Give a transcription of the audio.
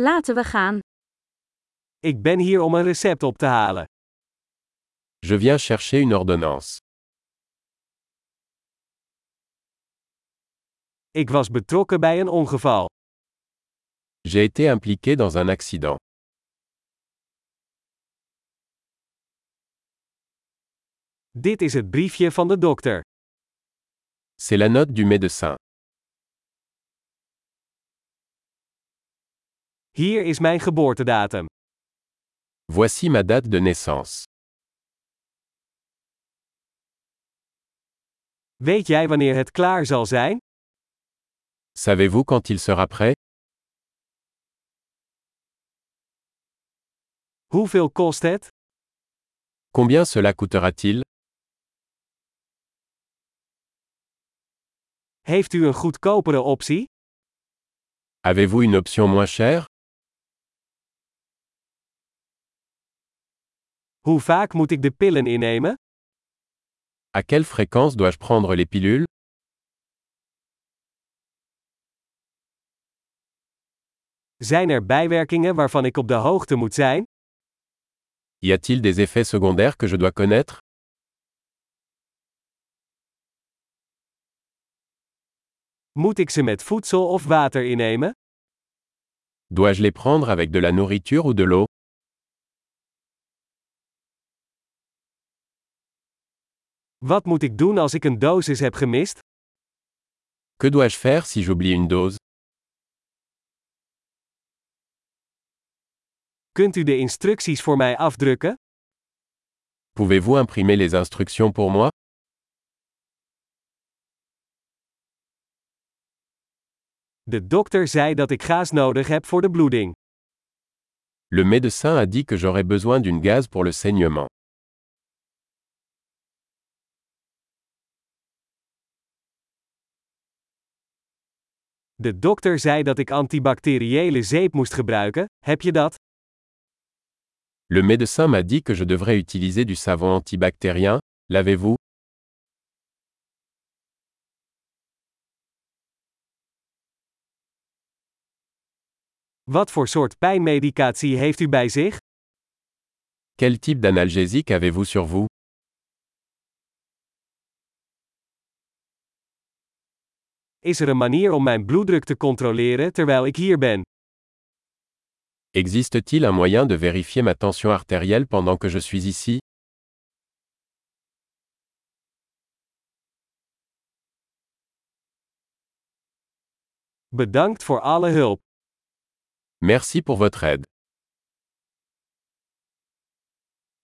Laten we gaan. Ik ben hier om een recept op te halen. Je viens chercher une ordonnance. Ik was betrokken bij een ongeval. J'ai été impliqué dans un accident. Dit is het briefje van de dokter. C'est la note du médecin. Hier is mijn geboortedatum. Voici ma date de naissance. Weet jij wanneer het klaar zal zijn? Savez-vous quand il sera prêt Hoeveel kost het? Combien cela coûtera-t-il Heeft u een goedkopere optie? Avez-vous une option moins chère Hoe vaak moet ik de pillen innemen? À quelle fréquence dois-je prendre les pilules Zijn er bijwerkingen waarvan ik op de hoogte moet zijn? Y a-t-il des effets secondaires que je dois connaître Moet ik ze met voedsel of water innemen? Dois-je les prendre avec de la nourriture ou de l'eau Wat moet ik doen als ik een dosis heb gemist? Que dois-je faire si j'oublie une dose Kunt u de instructies voor mij afdrukken? Pouvez-vous imprimer les instructions pour moi De dokter zei dat ik gaas nodig heb voor de bloeding. Le médecin a dit que j'aurais besoin d'une gaz pour le saignement. De dokter zei dat ik antibacteriële zeep moest gebruiken. Heb je dat? Le médecin m'a dit que je devrais utiliser du savon antibactérien. L'avez-vous Wat voor soort pijnmedicatie heeft u bij zich? Quel type d'analgésique avez-vous sur vous Is er een manier om mijn bloeddruk te controleren terwijl ik hier ben? Existe-t-il un moyen de vérifier ma tension artérielle pendant que je suis ici Bedankt voor alle hulp. Merci pour votre aide.